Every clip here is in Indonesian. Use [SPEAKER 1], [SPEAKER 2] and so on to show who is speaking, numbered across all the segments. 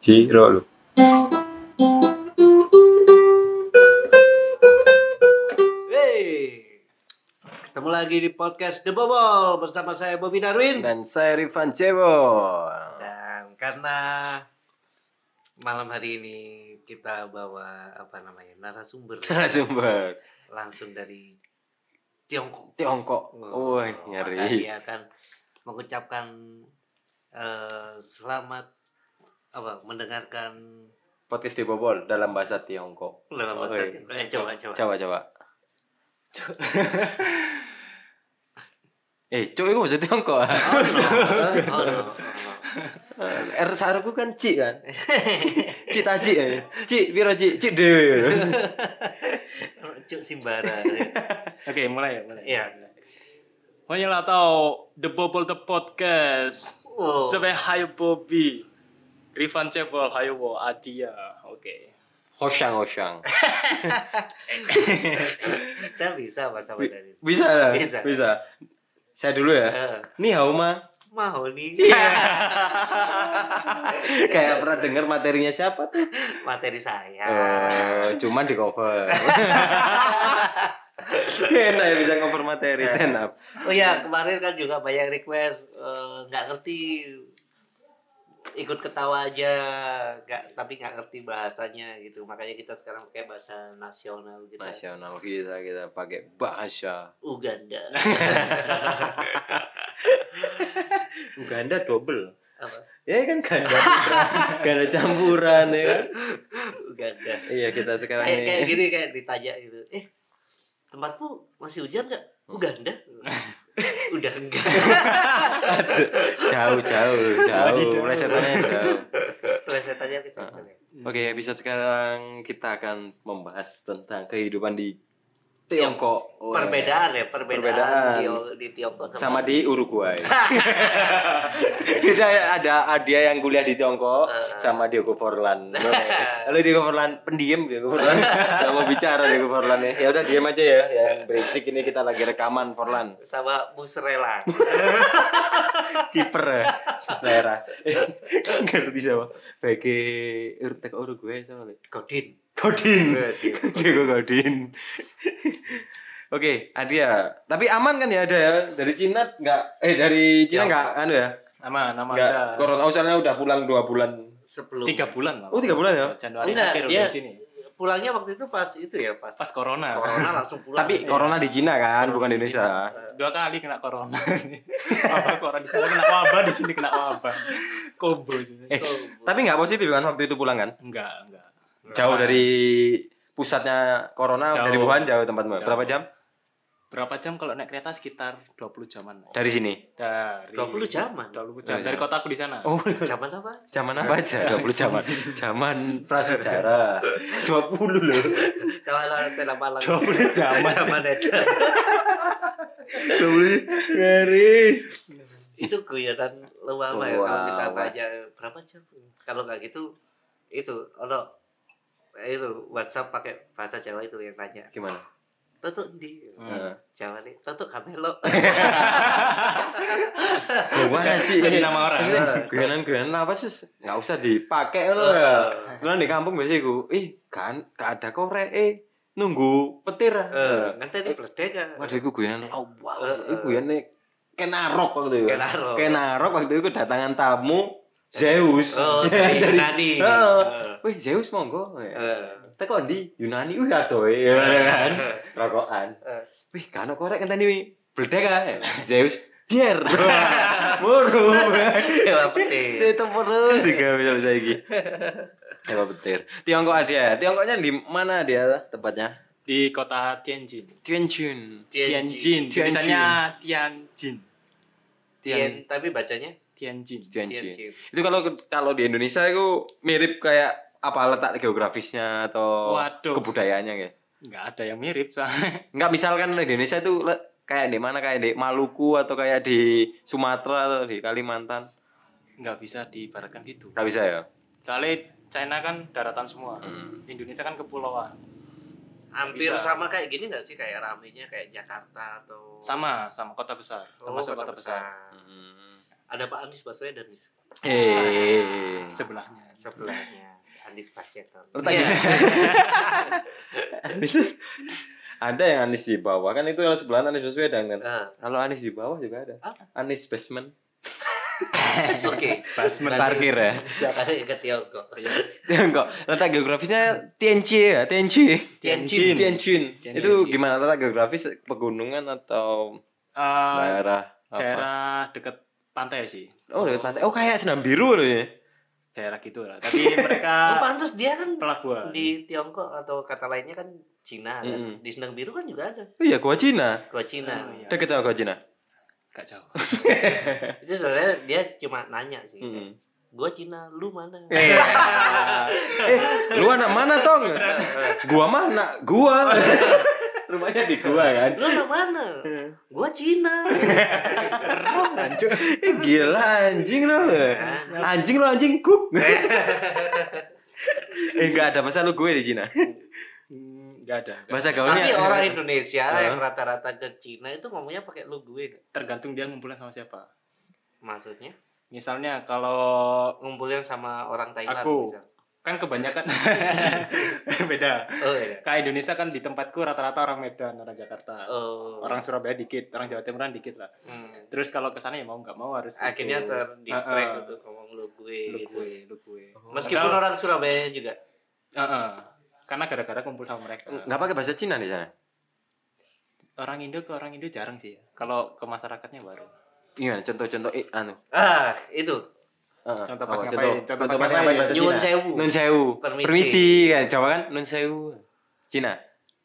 [SPEAKER 1] Jiro lu.
[SPEAKER 2] Hey, ketemu lagi di podcast The Bobol bersama saya Bobby Darwin.
[SPEAKER 3] Dan saya Rifan Cebo.
[SPEAKER 2] Dan karena malam hari ini kita bawa apa namanya narasumber ya,
[SPEAKER 3] Narasumber
[SPEAKER 2] langsung dari Tiongkok.
[SPEAKER 3] Tiongkok.
[SPEAKER 2] Oh,
[SPEAKER 3] Wah, nyeri.
[SPEAKER 2] maka Dia akan mengucapkan eh, selamat apa mendengarkan
[SPEAKER 3] Podcast di Bobol dalam bahasa Tiongkok.
[SPEAKER 2] dalam bahasa
[SPEAKER 3] Oi.
[SPEAKER 2] Tiongkok. Eh, coba coba.
[SPEAKER 3] Coba coba. Co- eh, cok itu bahasa Tiongkok. ah.
[SPEAKER 2] Oh, no. Oh, no. Oh, no.
[SPEAKER 3] R sarungku kan cik kan. Cik ta cik. eh. Cik piro cik? Cik dhewe.
[SPEAKER 2] Cuk Simbara.
[SPEAKER 4] Oke, mulai mulai.
[SPEAKER 2] Iya.
[SPEAKER 4] Hanya lah tahu The Bobol The Podcast.
[SPEAKER 2] Oh.
[SPEAKER 4] Sampai Hayo Bobby. Rifan Cebol, Hayo Wo, Adia. Oke.
[SPEAKER 3] Hoshang hoshang.
[SPEAKER 2] Saya bisa
[SPEAKER 3] Iya.
[SPEAKER 2] bahasa Mandarin.
[SPEAKER 3] Bisa lah.
[SPEAKER 2] Bisa.
[SPEAKER 3] Bisa. Saya dulu ya.
[SPEAKER 2] Eh,
[SPEAKER 3] Ni hao ma.
[SPEAKER 2] mau nih
[SPEAKER 3] Iya. Kayak pernah dengar materinya siapa tuh?
[SPEAKER 2] materi saya.
[SPEAKER 3] Eh, cuman di cover. Enak ya bisa cover materi stand up.
[SPEAKER 2] Oh ya kemarin kan juga banyak request eh, nggak ngerti ikut ketawa aja nggak tapi nggak ngerti bahasanya gitu makanya kita sekarang pakai bahasa nasional gitu
[SPEAKER 3] Nasional kita kita pakai bahasa.
[SPEAKER 2] Uganda
[SPEAKER 3] Uganda double.
[SPEAKER 2] Apa?
[SPEAKER 3] Ya kan ganda, ganda campuran ya kan.
[SPEAKER 2] Uganda
[SPEAKER 3] Iya kita sekarang
[SPEAKER 2] kayak kayak
[SPEAKER 3] ini.
[SPEAKER 2] gini kayak ditanya gitu eh tempatmu masih hujan nggak
[SPEAKER 3] Hmm.
[SPEAKER 2] Uganda udah enggak
[SPEAKER 3] Jauh jauh jauh. Lesetannya jauh.
[SPEAKER 2] saya tanya gitu
[SPEAKER 3] Oke episode sekarang kita akan membahas tentang kehidupan di Tiongkok. Oh,
[SPEAKER 2] perbedaan ya perbedaan,
[SPEAKER 3] Perbedaan.
[SPEAKER 2] Di, di Tiongkok
[SPEAKER 3] sama di Uruguay. Kita ada Adia yang kuliah di Tiongkok sama Diego Forlan. Halo Diego Forlan, pendiam Diego Forlan. Gak mau bicara Diego Forlan ya. Ya udah diam aja ya. Ya berisik ini kita lagi rekaman Forlan.
[SPEAKER 2] sama Musrela
[SPEAKER 3] Kiper ya. Selera. Ngerti sama. Bagi Urtek Uruguay sama Le.
[SPEAKER 2] Godin
[SPEAKER 3] Godin. Diego Godin. Oke, Adia. Tapi aman kan ya ada ya? Dari Cina nggak? Eh dari Cina nggak? Anu ya?
[SPEAKER 4] Nama nama
[SPEAKER 3] Enggak,
[SPEAKER 4] Anda.
[SPEAKER 3] corona Australia udah pulang dua bulan.
[SPEAKER 2] sebelum
[SPEAKER 4] Tiga bulan lah.
[SPEAKER 3] Oh, tiga bulan ya?
[SPEAKER 4] Januari
[SPEAKER 2] Enggak,
[SPEAKER 4] akhir
[SPEAKER 2] dia-
[SPEAKER 4] udah di sini.
[SPEAKER 2] pulangnya waktu itu pas itu ya pas,
[SPEAKER 4] Pas corona.
[SPEAKER 2] corona langsung pulang
[SPEAKER 3] Tapi corona di Cina kan, bukan di Indonesia.
[SPEAKER 4] Dua kali kena corona. wabah corona di sana kena wabah, di sini kena wabah. Combo sih.
[SPEAKER 3] Eh,
[SPEAKER 2] Tuh,
[SPEAKER 3] tapi nggak positif kan waktu itu pulang kan?
[SPEAKER 4] Enggak, enggak.
[SPEAKER 3] Jauh dari pusatnya corona
[SPEAKER 4] Jauh.
[SPEAKER 3] dari Wuhan Nah. jauh tempat
[SPEAKER 4] Jauh.
[SPEAKER 3] berapa jam?
[SPEAKER 4] Berapa jam kalau naik kereta sekitar 20 jaman.
[SPEAKER 3] Dari sini.
[SPEAKER 4] Dari
[SPEAKER 2] 20 jaman
[SPEAKER 4] 20 jam dari kotaku di sana.
[SPEAKER 3] Oh,
[SPEAKER 2] jaman apa
[SPEAKER 3] zaman apa aja? 20 zaman. Zaman prasejarah. 20 loh.
[SPEAKER 2] jaman orang Stella Malang
[SPEAKER 3] 20 zaman.
[SPEAKER 2] jaman itu
[SPEAKER 3] 20 ngeri.
[SPEAKER 2] itu guyonan lu lama ya kalau kita
[SPEAKER 3] Luas.
[SPEAKER 2] tanya berapa jam kalau nggak gitu itu ono eh, itu WhatsApp pakai bahasa Jawa itu yang nanya
[SPEAKER 3] Gimana?
[SPEAKER 2] tutup di
[SPEAKER 3] Hmm. Iya.
[SPEAKER 2] Jawa nih tutup kamelo
[SPEAKER 3] Gimana sih?
[SPEAKER 4] Jadi nama orang.
[SPEAKER 3] Guyonan-guyonan apa sih? Nggak usah dipakai loh.
[SPEAKER 2] Eh,
[SPEAKER 3] Soalnya di kampung biasanya gue, ih kan gak ada korek, eh nunggu petir.
[SPEAKER 2] Eh,
[SPEAKER 3] Uh.
[SPEAKER 2] nanti ini bledek ya.
[SPEAKER 3] Waduh, gue guyonan. Oh wow,
[SPEAKER 2] Eh,
[SPEAKER 3] gue
[SPEAKER 2] eh.
[SPEAKER 3] guyonan kenarok waktu itu.
[SPEAKER 2] Kenarok.
[SPEAKER 3] Kenarok waktu itu kedatangan tamu Zeus.
[SPEAKER 2] Oh, dari Yunani.
[SPEAKER 3] Heeh.
[SPEAKER 2] Eh.
[SPEAKER 3] Wih Zeus monggo.
[SPEAKER 2] Eh.
[SPEAKER 3] Teko di Yunani wih atoe ya kan. Rokokan.
[SPEAKER 2] Eh.
[SPEAKER 3] Wih kan korek ngenteni wi. Bledek ah. Zeus biar. Muru.
[SPEAKER 2] Dewa petir.
[SPEAKER 3] Tetep terus juga bisa-bisa iki. Ya petir. Tiongkok ada. Tiongkoknya di mana dia tepatnya?
[SPEAKER 4] Di kota Tianjin.
[SPEAKER 3] Tianjin.
[SPEAKER 4] Tianjin.
[SPEAKER 3] Tianjin.
[SPEAKER 4] Tulisannya Tianjin.
[SPEAKER 2] Tien, tapi bacanya
[SPEAKER 4] Tianjin.
[SPEAKER 3] Tianjin.
[SPEAKER 2] Tianjin.
[SPEAKER 3] Itu kalau kalau di Indonesia itu mirip kayak apa letak geografisnya atau
[SPEAKER 4] Waduh.
[SPEAKER 3] kebudayaannya kayak.
[SPEAKER 4] Nggak ada yang mirip soalnya.
[SPEAKER 3] Enggak misalkan di Indonesia itu le- kayak di mana kayak di Maluku atau kayak di Sumatera atau di Kalimantan.
[SPEAKER 4] Nggak bisa diibaratkan gitu.
[SPEAKER 3] Enggak bisa ya?
[SPEAKER 4] Soalnya China kan daratan semua.
[SPEAKER 3] Hmm.
[SPEAKER 4] Indonesia kan kepulauan.
[SPEAKER 2] hampir
[SPEAKER 4] Bisa.
[SPEAKER 2] sama kayak gini nggak sih kayak ramenya kayak Jakarta atau
[SPEAKER 4] Sama, sama kota besar.
[SPEAKER 2] Oh,
[SPEAKER 4] Termasuk kota, besar.
[SPEAKER 3] Hmm.
[SPEAKER 2] Ada Pak Anies Baswedan di situ.
[SPEAKER 3] Eh.
[SPEAKER 4] Sebelahnya.
[SPEAKER 2] sebelahnya Iya. Andis Paceton.
[SPEAKER 3] Pertanyaan. Anies- ada yang Anies di bawah kan itu yang sebelah Anies Baswedan kan.
[SPEAKER 2] Eh,
[SPEAKER 3] Kalau Anies di bawah juga ada.
[SPEAKER 2] Apa?
[SPEAKER 3] Anies basement.
[SPEAKER 2] Oke.
[SPEAKER 4] Basement
[SPEAKER 3] Parkir ya.
[SPEAKER 2] Siapa sih ke Tiongkok?
[SPEAKER 4] Iya.
[SPEAKER 3] Enggak, letak geografisnya Tianjin ya, Tianjin.
[SPEAKER 2] Tianjin.
[SPEAKER 3] Tianjin.
[SPEAKER 4] Tianjin.
[SPEAKER 3] Itu gimana letak geografis pegunungan atau
[SPEAKER 4] Eh,
[SPEAKER 3] daerah Nah, apa?
[SPEAKER 4] daerah dekat pantai sih.
[SPEAKER 3] Oh, dekat pantai. Oh, kayak Senam Biru loh ya.
[SPEAKER 4] Daerah gitu lah. Tapi
[SPEAKER 2] Oh,
[SPEAKER 4] mereka
[SPEAKER 2] pantas dia kan
[SPEAKER 4] pelabuhan.
[SPEAKER 2] di Tiongkok atau kata lainnya kan Cina kan.
[SPEAKER 3] Mm-mm.
[SPEAKER 2] Di Senang Biru kan juga ada.
[SPEAKER 3] Oh iya, Gua Cina.
[SPEAKER 2] Gua Cina.
[SPEAKER 4] Oh, iya.
[SPEAKER 3] Dekat sama Gua Cina.
[SPEAKER 4] Gak jauh.
[SPEAKER 2] Itu sebenarnya dia cuma nanya sih.
[SPEAKER 3] Mm-mm.
[SPEAKER 2] Gua Cina, lu mana?
[SPEAKER 3] Hmm. Eh, eh, lu anak mana tong? Gua mah anak gua. Rumahnya di gua kan.
[SPEAKER 2] Lu anak mana? Gua Cina.
[SPEAKER 3] Eh, gila anjing lu. Anjing lu anjing kuk. eh enggak ada masa lu gue di Cina.
[SPEAKER 4] Gak ada. Hmm, Nggak
[SPEAKER 3] Bahasa
[SPEAKER 4] ada.
[SPEAKER 3] gaulnya.
[SPEAKER 2] Tapi orang Indonesia
[SPEAKER 3] Heeh.
[SPEAKER 2] yang rata-rata ke Cina itu ngomongnya pakai lu gue.
[SPEAKER 4] Tergantung dia ngumpulnya sama siapa.
[SPEAKER 2] Maksudnya
[SPEAKER 4] Misalnya kalau
[SPEAKER 2] ngumpulin sama orang Thailand.
[SPEAKER 4] Aku.
[SPEAKER 2] misal.
[SPEAKER 4] kan kebanyakan beda.
[SPEAKER 2] Oh iya.
[SPEAKER 4] Kayak Indonesia kan di tempatku rata-rata orang Medan, orang Jakarta.
[SPEAKER 2] Oh.
[SPEAKER 4] Orang Surabaya dikit, orang Jawa Timuran dikit lah.
[SPEAKER 2] Hmm.
[SPEAKER 4] Terus kalau ke sana ya mau nggak mau harus
[SPEAKER 2] akhirnya
[SPEAKER 4] itu.
[SPEAKER 3] Eh,
[SPEAKER 2] terdistract
[SPEAKER 4] Ah, ah.
[SPEAKER 2] untuk ngomong lu gue
[SPEAKER 4] lu
[SPEAKER 2] gitu.
[SPEAKER 4] gue, lu gue.
[SPEAKER 2] Meskipun
[SPEAKER 4] Padahal-
[SPEAKER 2] orang Surabaya juga.
[SPEAKER 4] Ah, ah. karena gara-gara kumpul sama mereka.
[SPEAKER 3] Enggak pakai bahasa Cina di sana.
[SPEAKER 4] Orang Indo ke orang Indo jarang sih. ya. Kalau ke masyarakatnya baru.
[SPEAKER 3] Gimana contoh-contoh eh anu.
[SPEAKER 2] Ah, itu.
[SPEAKER 3] Heeh.
[SPEAKER 4] Contoh pas
[SPEAKER 3] Apa,
[SPEAKER 4] ngapain? Contoh
[SPEAKER 3] Contoh,
[SPEAKER 4] pas
[SPEAKER 3] pas
[SPEAKER 4] ngapain?
[SPEAKER 3] ngapain bahasa Cina?
[SPEAKER 2] Nyun sewu.
[SPEAKER 3] Nun sewu.
[SPEAKER 2] Permisi.
[SPEAKER 3] Permisi. kan Jawa kan nun sewu. Cina.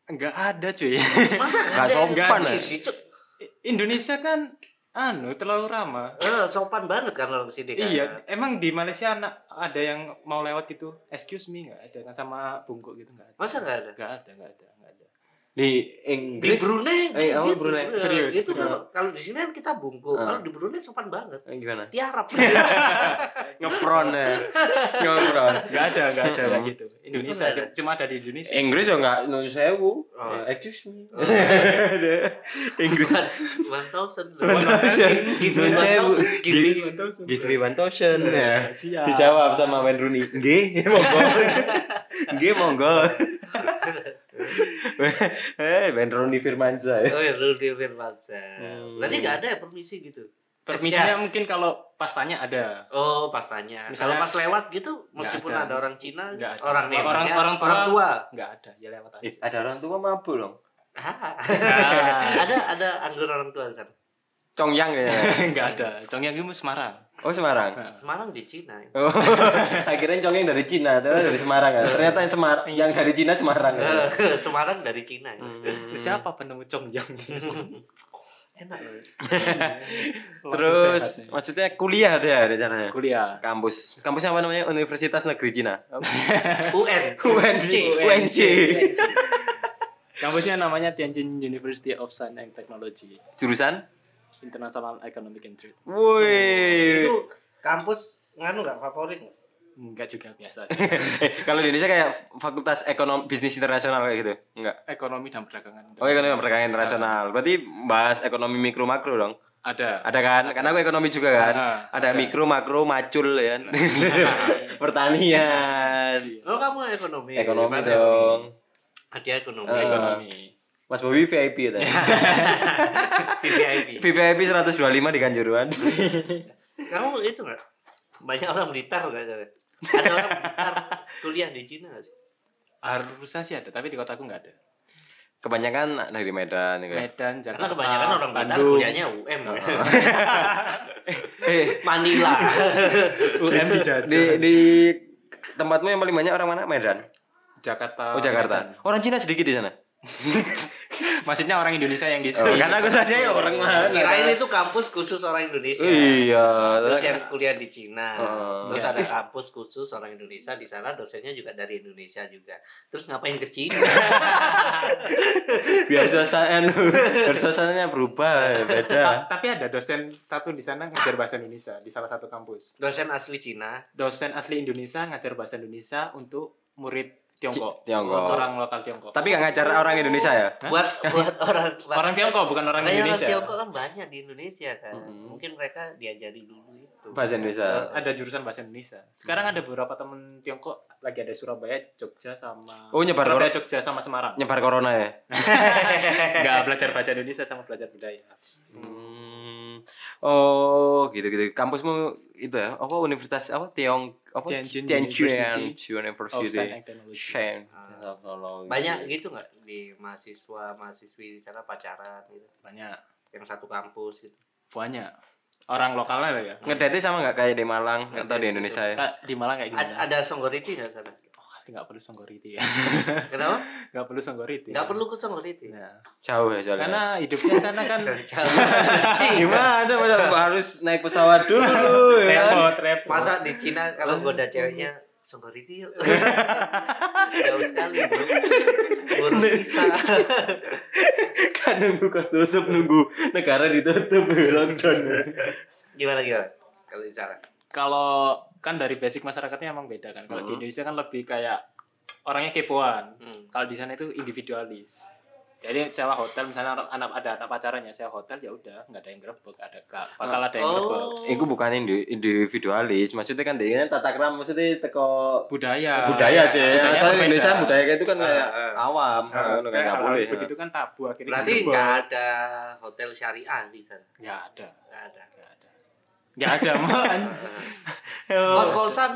[SPEAKER 4] Enggak ada cuy.
[SPEAKER 2] Masa
[SPEAKER 3] Nggak
[SPEAKER 2] ada yang
[SPEAKER 3] sopan,
[SPEAKER 2] pakai
[SPEAKER 3] ya?
[SPEAKER 2] sih, Cuk?
[SPEAKER 4] Indonesia kan anu terlalu ramah.
[SPEAKER 2] Eh, sopan banget kan orang sini kan.
[SPEAKER 4] Iya, emang di Malaysia anak ada yang mau lewat gitu, excuse me nggak ada kan sama bungkuk gitu nggak ada.
[SPEAKER 2] Masa nggak ada?
[SPEAKER 4] Nggak ada, nggak ada, nggak ada.
[SPEAKER 3] Di
[SPEAKER 2] Di
[SPEAKER 3] Inggris.
[SPEAKER 2] Brunei.
[SPEAKER 3] Eh, apa Brunei?
[SPEAKER 2] eh,
[SPEAKER 4] oh, Serius?
[SPEAKER 2] Itu kalau kalau di sini kan kita bungkuk.
[SPEAKER 3] Ah.
[SPEAKER 2] Kalau di Brunei sopan banget.
[SPEAKER 3] Eh, Gimana?
[SPEAKER 2] Tiarap.
[SPEAKER 3] Ngepron ya. Ngepron.
[SPEAKER 4] Nggak ada, nggak ada kayak gitu.
[SPEAKER 2] Nggak
[SPEAKER 4] Indonesia
[SPEAKER 2] ada.
[SPEAKER 4] cu- cuma ada di Indonesia.
[SPEAKER 3] Inggris ya enggak nun sewu.
[SPEAKER 2] Oh.
[SPEAKER 3] Eh, Excuse me.
[SPEAKER 2] Bukan 1000.
[SPEAKER 4] One thousand.
[SPEAKER 2] Give me
[SPEAKER 3] Nun sewu.
[SPEAKER 2] 1000. Give me
[SPEAKER 3] Give me one thousand. Ya.
[SPEAKER 4] Siap.
[SPEAKER 3] Dijawab sama Wayne Rooney. Nggih, monggo. Nggih, monggo. Eh, Wayne Rooney Firmansyah. ya.
[SPEAKER 2] Oh ya, Rul Dirwin Bangsa.
[SPEAKER 3] Hmm.
[SPEAKER 2] Berarti nggak ada ya permisi gitu?
[SPEAKER 4] Permisinya mungkin kalau pas tanya ada.
[SPEAKER 2] Oh, pas tanya.
[SPEAKER 4] Misalnya-
[SPEAKER 2] Kalau pas lewat gitu, meskipun
[SPEAKER 4] ada.
[SPEAKER 2] ada. orang Cina,
[SPEAKER 4] Nggak ada.
[SPEAKER 2] orang Nepal,
[SPEAKER 4] Orang- orang tua.
[SPEAKER 2] orang tua.
[SPEAKER 4] Nggak ada, ya lewat aja.
[SPEAKER 3] Eh, ada orang tua mabuk dong.
[SPEAKER 2] Ah.
[SPEAKER 4] Ah.
[SPEAKER 2] ada ada anggur orang tua di sana.
[SPEAKER 3] Congyang ya.
[SPEAKER 4] Nggak ada. Congyang itu Semarang. Nah.
[SPEAKER 3] Oh, Semarang.
[SPEAKER 2] Semarang di Cina. ya.
[SPEAKER 3] Oh, akhirnya Congyang dari Cina, ternyata dari Semarang kan. Ternyata yang Semarang, yang dari Cina Semarang. ya.
[SPEAKER 2] Eh, Semarang dari Cina. ya.
[SPEAKER 3] Hmm.
[SPEAKER 4] Siapa penemu Congyang?
[SPEAKER 2] Enak. ya.
[SPEAKER 3] Terus maksudnya kuliah dia di sana. ya?
[SPEAKER 4] kuliah.
[SPEAKER 3] Kampus. Kampusnya apa namanya? Universitas Negeri Cina.
[SPEAKER 2] UN.
[SPEAKER 3] UNC. UNC.
[SPEAKER 4] Kampusnya namanya Tianjin University of Science and Technology,
[SPEAKER 3] Jurusan?
[SPEAKER 4] International Economic and Trade.
[SPEAKER 3] Woi.
[SPEAKER 2] Itu kampus nganu nggak favorit? nggak?
[SPEAKER 4] Enggak juga biasa. aja.
[SPEAKER 3] Eh, kalau di Indonesia kayak fakultas ekonomi bisnis internasional kayak gitu enggak
[SPEAKER 4] ekonomi dan perdagangan.
[SPEAKER 3] oh ekonomi perdagangan internasional berarti bahas ekonomi mikro makro dong
[SPEAKER 4] Ada.
[SPEAKER 3] ada kan karena aku ekonomi juga kan ada
[SPEAKER 4] Ada.
[SPEAKER 3] mikro makro macul ya kan? pertanian Iya,
[SPEAKER 2] Oh kamu ekonomi.
[SPEAKER 3] ekonomi
[SPEAKER 2] Mana?
[SPEAKER 3] dong
[SPEAKER 2] Dia ekonomi.
[SPEAKER 3] Eh.
[SPEAKER 4] Ekonomi.
[SPEAKER 3] Mas Bobi VIP ya tadi.
[SPEAKER 2] VIP.
[SPEAKER 3] VIP 125 di Kanjuruan
[SPEAKER 2] Kamu itu nggak? Banyak orang militer nggak ada? Ada orang militer kuliah di Cina nggak sih?
[SPEAKER 4] Harusnya sih ada, tapi di kotaku nggak ada.
[SPEAKER 3] kebanyakan negeri Medan gitu.
[SPEAKER 2] Karena
[SPEAKER 4] Medan, Jakarta,
[SPEAKER 2] kebanyakan orang militer
[SPEAKER 4] Bandung.
[SPEAKER 2] kuliahnya UM. kan?
[SPEAKER 3] Oh. eh
[SPEAKER 2] Manila.
[SPEAKER 4] UM di Jakarta.
[SPEAKER 3] di, di tempatmu yang paling banyak orang mana Medan
[SPEAKER 4] Jakarta.
[SPEAKER 3] oh Jakarta
[SPEAKER 4] Medan.
[SPEAKER 3] orang Cina sedikit di sana
[SPEAKER 4] Maksudnya orang Indonesia yang di
[SPEAKER 3] Oh, karena aku tanya ya orang mana.
[SPEAKER 2] Kirain itu kampus khusus orang Indonesia.
[SPEAKER 3] Iya.
[SPEAKER 2] Iya. Terus yang kuliah di Cina,
[SPEAKER 3] Oh.
[SPEAKER 2] terus ada kampus khusus orang Indonesia di sana, dosennya juga dari Indonesia juga. Terus ngapain ke Cina?
[SPEAKER 3] biar suasana biar suasananya berubah beda.
[SPEAKER 4] Ta- tapi ada dosen satu di sana ngajar bahasa Indonesia di salah satu kampus.
[SPEAKER 2] Dosen asli Cina.
[SPEAKER 4] Dosen asli Indonesia ngajar bahasa Indonesia untuk murid Tiongkok.
[SPEAKER 3] Tiongkok.
[SPEAKER 4] Orang lokal Tiongkok.
[SPEAKER 3] Oh. Tapi nggak ngajar orang Indonesia ya?
[SPEAKER 2] buat buat orang
[SPEAKER 4] Orang Tiongkok
[SPEAKER 3] Iya,
[SPEAKER 4] bukan orang
[SPEAKER 2] Makanya
[SPEAKER 4] Indonesia.
[SPEAKER 2] orang Tiongkok kan banyak di Indonesia kan.
[SPEAKER 3] Mhm.
[SPEAKER 2] Mungkin mereka diajari dulu itu. Eh,
[SPEAKER 3] Bahasa Indonesia.
[SPEAKER 4] Ada jurusan bahasa Indonesia. Sekarang
[SPEAKER 3] Hmm.
[SPEAKER 4] ada beberapa temen Tiongkok lagi ada Surabaya, Jogja sama
[SPEAKER 3] Oh, nyebar
[SPEAKER 4] Surabaya, Jogja sama Semarang.
[SPEAKER 3] Nyebar corona ya?
[SPEAKER 4] Enggak belajar bahasa Indonesia sama belajar budaya.
[SPEAKER 3] Hmm. Oh, gitu-gitu. Kampusmu itu ya? Apa universitas apa Tiong apa
[SPEAKER 4] Tianjin
[SPEAKER 3] Tianjin
[SPEAKER 4] University Oh, Of Science
[SPEAKER 3] University.
[SPEAKER 4] and Technology.
[SPEAKER 3] Shen.
[SPEAKER 2] Ah. Banyak gitu nggak di mahasiswa mahasiswi di sana pacaran gitu
[SPEAKER 4] Banyak.
[SPEAKER 2] yang satu kampus gitu.
[SPEAKER 4] Banyak. Orang lokalnya lah ya.
[SPEAKER 3] Ngedate sama nggak kayak di Malang atau
[SPEAKER 2] Ngedate
[SPEAKER 3] di Indonesia ya?
[SPEAKER 4] Kak, di Malang kayak gimana?
[SPEAKER 2] Ad- ada songgoriti nggak sana?
[SPEAKER 4] Oh, pasti nggak perlu songgoriti ya.
[SPEAKER 2] Kenapa?
[SPEAKER 4] Nggak perlu songgoriti.
[SPEAKER 2] Nggak perlu ke songgoriti.
[SPEAKER 4] Nah,
[SPEAKER 3] Jauh ya soalnya.
[SPEAKER 4] karena hidupnya sana kan
[SPEAKER 3] gimana ada masa harus naik pesawat
[SPEAKER 4] Iya.
[SPEAKER 3] dulu ya kan?
[SPEAKER 4] repot, repot.
[SPEAKER 2] Masa di Cina
[SPEAKER 4] Iya.
[SPEAKER 2] kalau goda ceweknya songgoriti yuk. Jauh sekali bro.
[SPEAKER 4] Iya.
[SPEAKER 2] Urus bisa.
[SPEAKER 3] kan nunggu kos tutup nunggu negara ditutup ya, lockdown
[SPEAKER 2] Gimana gimana? Kalau di sana?
[SPEAKER 4] Kalau kan dari basic masyarakatnya emang beda kan. Kalau di
[SPEAKER 3] Mhm.
[SPEAKER 4] Indonesia kan lebih kayak orangnya kepoan.
[SPEAKER 2] Hmm.
[SPEAKER 4] Kalau di sana itu individualis. Jadi sewa hotel misalnya anak- anak ada anak pacarannya sewa hotel ya udah nggak ada yang grebek ada nggak bakal
[SPEAKER 2] Ah. Oh.
[SPEAKER 4] ada yang grebek.
[SPEAKER 3] itu bukan indi- individualis maksudnya kan dia tata krama maksudnya teko
[SPEAKER 4] Budaya.
[SPEAKER 3] budaya sih
[SPEAKER 4] Ah, iya. Budaya
[SPEAKER 3] soalnya
[SPEAKER 4] berbeda.
[SPEAKER 3] Indonesia budaya kayak itu kan
[SPEAKER 2] Ah,
[SPEAKER 3] kayak
[SPEAKER 2] ah.
[SPEAKER 3] awam
[SPEAKER 2] Ah,
[SPEAKER 3] ngono kan
[SPEAKER 4] Kayak
[SPEAKER 3] nggak
[SPEAKER 4] hal-hal
[SPEAKER 3] boleh
[SPEAKER 4] begitu kan tabu akhirnya.
[SPEAKER 2] Berarti
[SPEAKER 4] grebek.
[SPEAKER 2] nggak ada hotel syariah di sana?
[SPEAKER 4] nggak ada.
[SPEAKER 2] Nggak ada.
[SPEAKER 4] Nggak ada. Nggak ada man.
[SPEAKER 2] kos kosan,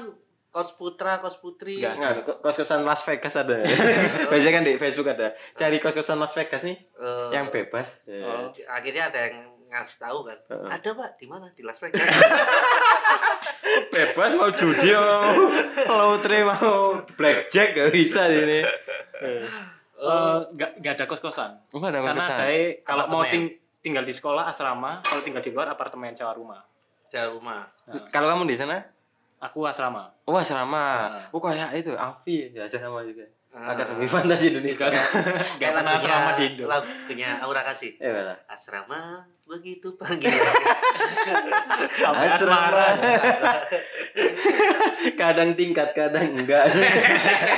[SPEAKER 2] kos putra, kos putri.
[SPEAKER 4] Oh. Nggak.
[SPEAKER 3] kos kosan Las Vegas ada ya? biasanya kan di Facebook ada cari kos kosan Las Vegas nih
[SPEAKER 2] Eh,
[SPEAKER 3] yang bebas
[SPEAKER 4] Oh.
[SPEAKER 2] akhirnya ada yang ngasih tahu kan?
[SPEAKER 3] Heeh.
[SPEAKER 2] Ada pak di mana di Las Vegas.
[SPEAKER 3] bebas mau judi mau lotre mau blackjack gak bisa di sini
[SPEAKER 4] Eh,
[SPEAKER 2] Eh,
[SPEAKER 4] nggak nggak ada kos kosan.
[SPEAKER 3] enggak Oh, ada ya.
[SPEAKER 4] sana
[SPEAKER 3] kesan.
[SPEAKER 4] kayak kalau mau
[SPEAKER 2] Apartemen.
[SPEAKER 4] ting- tinggal di sekolah asrama kalau tinggal di luar apartemen sewa rumah
[SPEAKER 2] jauh rumah.
[SPEAKER 4] Nah,
[SPEAKER 3] kalau kamu di sana
[SPEAKER 4] aku asrama
[SPEAKER 3] Wah asrama,
[SPEAKER 4] Ah.
[SPEAKER 3] oh kayak itu Avi ya asrama juga.
[SPEAKER 2] Ah.
[SPEAKER 3] Akademi Fantasi Indonesia.
[SPEAKER 4] nggak pernah
[SPEAKER 2] ya.
[SPEAKER 4] asrama di Indo
[SPEAKER 2] Lagunya Aura kasih.
[SPEAKER 3] Eh mana?
[SPEAKER 2] Asrama begitu panggilan.
[SPEAKER 4] Sampai
[SPEAKER 3] Asrama.
[SPEAKER 4] asmara
[SPEAKER 3] Kadang tingkat, kadang enggak.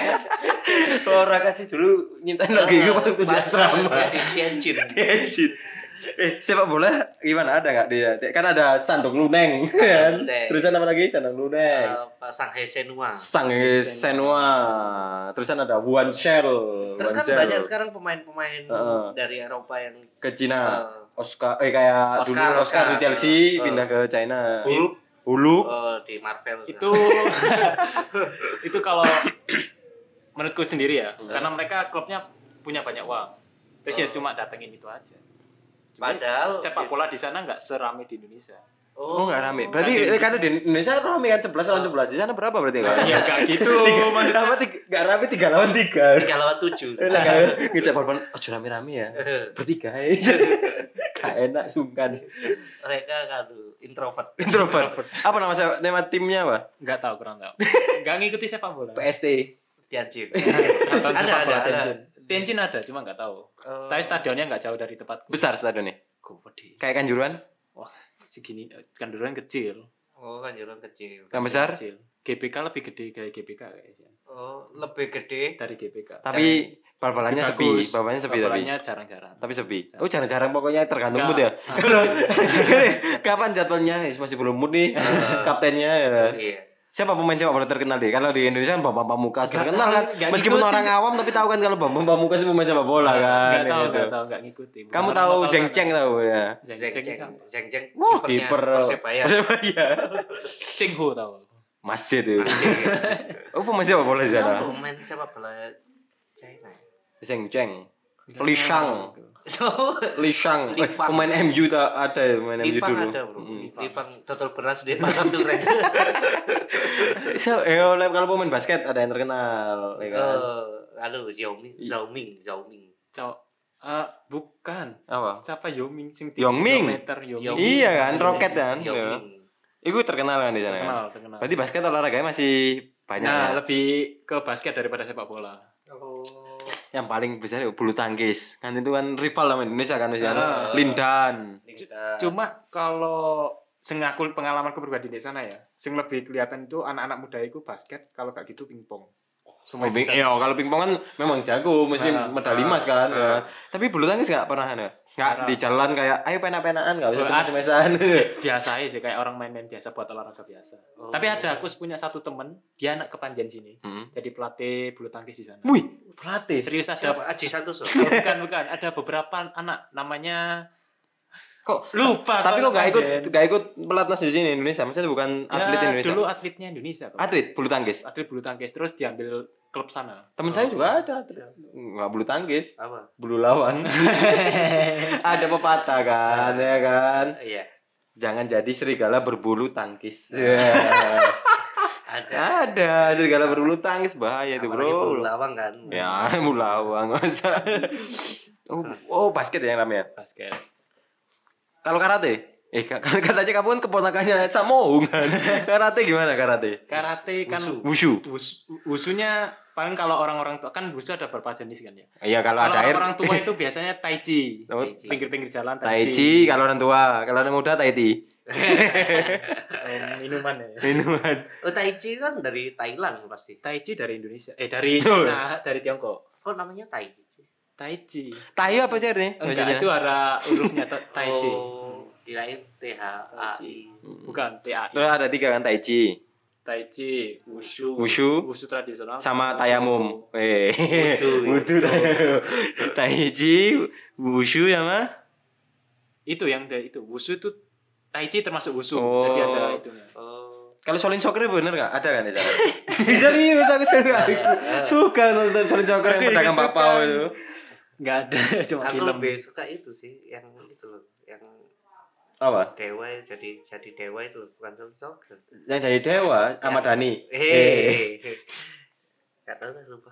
[SPEAKER 3] Orang kasih dulu nyiptain lagu itu waktu di asrama.
[SPEAKER 2] Di Tianjin.
[SPEAKER 3] Anjir. Eh sepak bola gimana ada nggak dia? Kan ada Sandung Luneng kan.
[SPEAKER 2] Luneng.
[SPEAKER 3] Terusan apa lagi Sandung Luneng.
[SPEAKER 2] Eh, Pak Sanghai Iya, Senua.
[SPEAKER 3] Sang eh, Senwa. Terusan kan ada One Shell.
[SPEAKER 2] Terus
[SPEAKER 3] One
[SPEAKER 2] kan
[SPEAKER 3] Shell.
[SPEAKER 2] banyak sekarang pemain-pemain
[SPEAKER 3] Heeh.
[SPEAKER 2] dari Eropa yang
[SPEAKER 3] ke Cina.
[SPEAKER 2] eh,
[SPEAKER 3] Oscar eh kayak
[SPEAKER 2] Oscar,
[SPEAKER 3] dulu Oscar,
[SPEAKER 2] Oscar.
[SPEAKER 3] di Chelsea
[SPEAKER 2] Eh, eh.
[SPEAKER 3] pindah ke China.
[SPEAKER 2] Hulk.
[SPEAKER 3] Hulu.
[SPEAKER 2] eh, di Marvel
[SPEAKER 4] itu itu kalau menurutku sendiri ya karena mereka klubnya punya banyak uang terus ya
[SPEAKER 2] Oh.
[SPEAKER 4] cuma datengin itu aja
[SPEAKER 2] Padahal
[SPEAKER 4] sepak bola di sana nggak serame di Indonesia
[SPEAKER 3] Oh nggak rame. Berarti
[SPEAKER 4] Tadi-
[SPEAKER 3] eh, kata di Indonesia rame kan 11 lawan 11. Di sana berapa berarti kan?
[SPEAKER 4] ya nggak gitu maksudnya
[SPEAKER 3] Apa tiga- nggak rame 3 lawan 3.
[SPEAKER 2] tiga lawan tujuh.
[SPEAKER 3] Enak kan? Ngecek bal ojo rame-rame ya. Bertiga. eh. Gak enak sungkan.
[SPEAKER 2] Mereka kalau introvert.
[SPEAKER 3] Introvert. Apa nama saya? Nama timnya apa?
[SPEAKER 4] nggak tahu kurang tahu nggak ngikuti sepak bola
[SPEAKER 3] PST.
[SPEAKER 2] Tianjin.
[SPEAKER 4] Nonton
[SPEAKER 2] Ada,
[SPEAKER 4] sepak bola
[SPEAKER 2] ada, ada.
[SPEAKER 4] Tianjin Tianjin ada cuma nggak tahu
[SPEAKER 2] Oh.
[SPEAKER 4] Tapi stadionnya nggak jauh dari tempatku.
[SPEAKER 3] Besar stadionnya.
[SPEAKER 4] Gede.
[SPEAKER 3] Kayak Kanjuruan?
[SPEAKER 4] Wah, segini eh, kan duluan kecil.
[SPEAKER 2] Oh kan jalan kecil.
[SPEAKER 3] Kan besar?
[SPEAKER 4] Kecil. GBK lebih gede dari GBK kayaknya.
[SPEAKER 2] Oh lebih gede.
[SPEAKER 4] Dari GBK.
[SPEAKER 3] Tapi bal-balannya sepi.
[SPEAKER 4] Bagus.
[SPEAKER 3] Bal-balannya sepi tapi.
[SPEAKER 4] Bola-nya jarang-jarang.
[SPEAKER 3] tapi sepi. Oh jarang-jarang pokoknya tergantung
[SPEAKER 4] Nggak.
[SPEAKER 3] mood ya. Kalau kapan jadwalnya? Eh, Masih belum mood nih. Kaptennya ya.
[SPEAKER 2] Iya.
[SPEAKER 3] Siapa pemain sepak bola terkenal deh? Kalau di Indonesia kan Bambang Pamungkas terkenal kan.
[SPEAKER 4] nggak
[SPEAKER 3] Meskipun
[SPEAKER 4] ngikutin.
[SPEAKER 3] orang awam tapi tahu kan kalau Bambang Pamungkas pemain sepak bola kan.
[SPEAKER 4] Nggak tahu,
[SPEAKER 3] gitu.
[SPEAKER 4] nggak tahu, nggak ngikuti. Bukan
[SPEAKER 3] Kamu
[SPEAKER 4] orang
[SPEAKER 3] tahu
[SPEAKER 4] lokal
[SPEAKER 3] Zeng
[SPEAKER 4] sana.
[SPEAKER 3] Cheng tahu ya?
[SPEAKER 4] Zeng
[SPEAKER 2] Zeng
[SPEAKER 4] Cheng
[SPEAKER 2] Zeng
[SPEAKER 4] siapa?
[SPEAKER 2] Zeng Zeng.
[SPEAKER 3] Wah,
[SPEAKER 2] kipernya
[SPEAKER 3] kiper.
[SPEAKER 2] Persebaya.
[SPEAKER 3] Persebaya.
[SPEAKER 4] Cheng Ho tahu.
[SPEAKER 3] Masjid itu. Oh pemain sepak bola di
[SPEAKER 2] Siapa
[SPEAKER 3] sana.
[SPEAKER 2] pemain sepak bola China?
[SPEAKER 3] Zeng Cheng. Li Shang.
[SPEAKER 2] So,
[SPEAKER 3] Li Shang.
[SPEAKER 2] Li
[SPEAKER 3] Eh,
[SPEAKER 2] Fang.
[SPEAKER 3] pemain MU tak ada ya, pemain MU
[SPEAKER 2] Livang
[SPEAKER 3] dulu.
[SPEAKER 2] ada bro.
[SPEAKER 3] Mm.
[SPEAKER 2] Livang total beras di pasar turen.
[SPEAKER 3] Iya So, eh, kalau pemain basket ada yang terkenal, ya kan?
[SPEAKER 2] Eh, Lalu Xiaomi, Xiaomi, Xiaomi.
[SPEAKER 4] Cao. Eh, bukan.
[SPEAKER 3] Apa?
[SPEAKER 4] Siapa Yoming sing
[SPEAKER 3] Yoming?
[SPEAKER 4] Meter Yoming.
[SPEAKER 3] Iya kan, roket kan? Iya.
[SPEAKER 2] Xiaomi.
[SPEAKER 3] Iku terkenal kan di sana kan?
[SPEAKER 4] Terkenal, terkenal.
[SPEAKER 3] Berarti basket olahraganya masih banyak.
[SPEAKER 4] Nah,
[SPEAKER 3] ya?
[SPEAKER 4] lebih ke basket daripada sepak bola.
[SPEAKER 2] Oh.
[SPEAKER 3] Yang paling besar ya bulu tangkis. Kan itu kan rival sama Indonesia kan misalnya.
[SPEAKER 4] Ah.
[SPEAKER 3] Lindan.
[SPEAKER 4] Cuma kalau sengakul pengalamanku pribadi di sana ya, sing lebih kelihatan itu anak-anak muda itu basket, kalau gak gitu pingpong.
[SPEAKER 3] Semua ping, iya kalau pingpong kan memang jago, mesti
[SPEAKER 4] Nah,
[SPEAKER 3] medali
[SPEAKER 4] nah,
[SPEAKER 3] emas kan.
[SPEAKER 4] nah.
[SPEAKER 3] ya. Tapi bulu tangkis nggak pernah ada. Nggak
[SPEAKER 4] Pernah.
[SPEAKER 3] di jalan kayak, ayo pena-penaan nggak bisa
[SPEAKER 4] Oh,
[SPEAKER 3] cuma
[SPEAKER 4] ada.
[SPEAKER 3] semesan.
[SPEAKER 4] biasa aja sih kayak orang main-main biasa buat olahraga biasa.
[SPEAKER 2] Oh.
[SPEAKER 4] Tapi ada aku punya satu temen dia anak kepanjen sini.
[SPEAKER 3] Hmm.
[SPEAKER 4] Jadi pelatih bulu tangkis di sana.
[SPEAKER 3] Wih, pelatih.
[SPEAKER 4] Serius ada
[SPEAKER 2] Siapa? Aji Santoso.
[SPEAKER 4] Oh, bukan bukan ada beberapa anak namanya
[SPEAKER 3] Kok
[SPEAKER 4] lupa
[SPEAKER 3] tapi kok nggak ikut
[SPEAKER 4] Kepanjen.
[SPEAKER 3] nggak ikut pelatnas di sini Indonesia? Maksudnya bukan
[SPEAKER 4] Dia
[SPEAKER 3] atlet Indonesia.
[SPEAKER 4] Ya, dulu atletnya Indonesia kok.
[SPEAKER 3] Atlet bulu tangkis.
[SPEAKER 4] atlet bulu tangkis terus diambil klub sana
[SPEAKER 3] Temen saya juga ada atlet. Nggak bulu tangkis,
[SPEAKER 2] Apa?
[SPEAKER 3] bulu lawan. ada pepatah kan, ya kan.
[SPEAKER 2] Iya.
[SPEAKER 3] Jangan jadi serigala berbulu tangkis. Ya.
[SPEAKER 4] Iya.
[SPEAKER 2] Ada.
[SPEAKER 3] ada serigala berbulu tangkis bahaya itu,
[SPEAKER 2] Apalagi
[SPEAKER 3] Gitu, Bro.
[SPEAKER 2] bulu lawang kan.
[SPEAKER 3] Ya, mulawang masa. Oh, oh, basket ya yang namanya.
[SPEAKER 4] basket
[SPEAKER 3] Kalau karate? Eh, ka- katanya kamu kan keponakannya Samoung kan. karate gimana karate?
[SPEAKER 4] karate kan
[SPEAKER 2] Wushu.
[SPEAKER 3] Wushu.
[SPEAKER 4] wus- wusunya paling kalau orang-orang tua kan wusu ada berapa jenis kan ya
[SPEAKER 3] Iya, kalau
[SPEAKER 4] kalau
[SPEAKER 3] ada air
[SPEAKER 4] orang tua itu biasanya tai chi
[SPEAKER 3] Oh,
[SPEAKER 2] Tai Chi.
[SPEAKER 4] pinggir-pinggir jalan tai
[SPEAKER 3] tai chi, kalau orang tua, kalau orang muda tai chi.
[SPEAKER 4] Eh, minuman ya
[SPEAKER 3] Minuman.
[SPEAKER 2] Oh, Tai Chi kan dari Thailand pasti.
[SPEAKER 4] tai chi dari Indonesia eh dari
[SPEAKER 3] Betul.
[SPEAKER 4] Cina dari Tiongkok
[SPEAKER 2] Kok namanya Tai Chi?
[SPEAKER 4] tai chi
[SPEAKER 3] Tai apa sih artinya?
[SPEAKER 4] enggak itu ada hurufnya ta- tai chi
[SPEAKER 2] Oh, kirain T H A I.
[SPEAKER 3] Hmm.
[SPEAKER 4] bukan TAI
[SPEAKER 3] Terus ada tiga kan tai chi,
[SPEAKER 4] tai chi wushu
[SPEAKER 3] Wushu.
[SPEAKER 4] wushu tradisional
[SPEAKER 3] sama tayamum. Eh,
[SPEAKER 2] Wudu.
[SPEAKER 3] wudu. tai chi, wushu ya, sama
[SPEAKER 4] itu yang dari itu wushu itu tai chi termasuk wushu
[SPEAKER 3] Oh.
[SPEAKER 4] jadi ada itunya
[SPEAKER 2] Oh.
[SPEAKER 3] Kalau Solin Soccer bener gak? Ada kan ya? Sarah? Serius aku sering aku suka nonton Solin Soccer yang
[SPEAKER 4] Aku juga
[SPEAKER 3] pedagang
[SPEAKER 4] suka.
[SPEAKER 3] papau itu.
[SPEAKER 4] nggak ada cuma
[SPEAKER 2] Aku
[SPEAKER 4] film
[SPEAKER 2] lebih suka itu sih yang itu loh, yang
[SPEAKER 3] Apa?
[SPEAKER 2] dewa jadi jadi dewa itu loh, bukan Sun Soccer.
[SPEAKER 3] Yang dari Dewa sama
[SPEAKER 2] Ya.
[SPEAKER 3] Dani. Eh.
[SPEAKER 2] Hei. Gak tau lah lupa.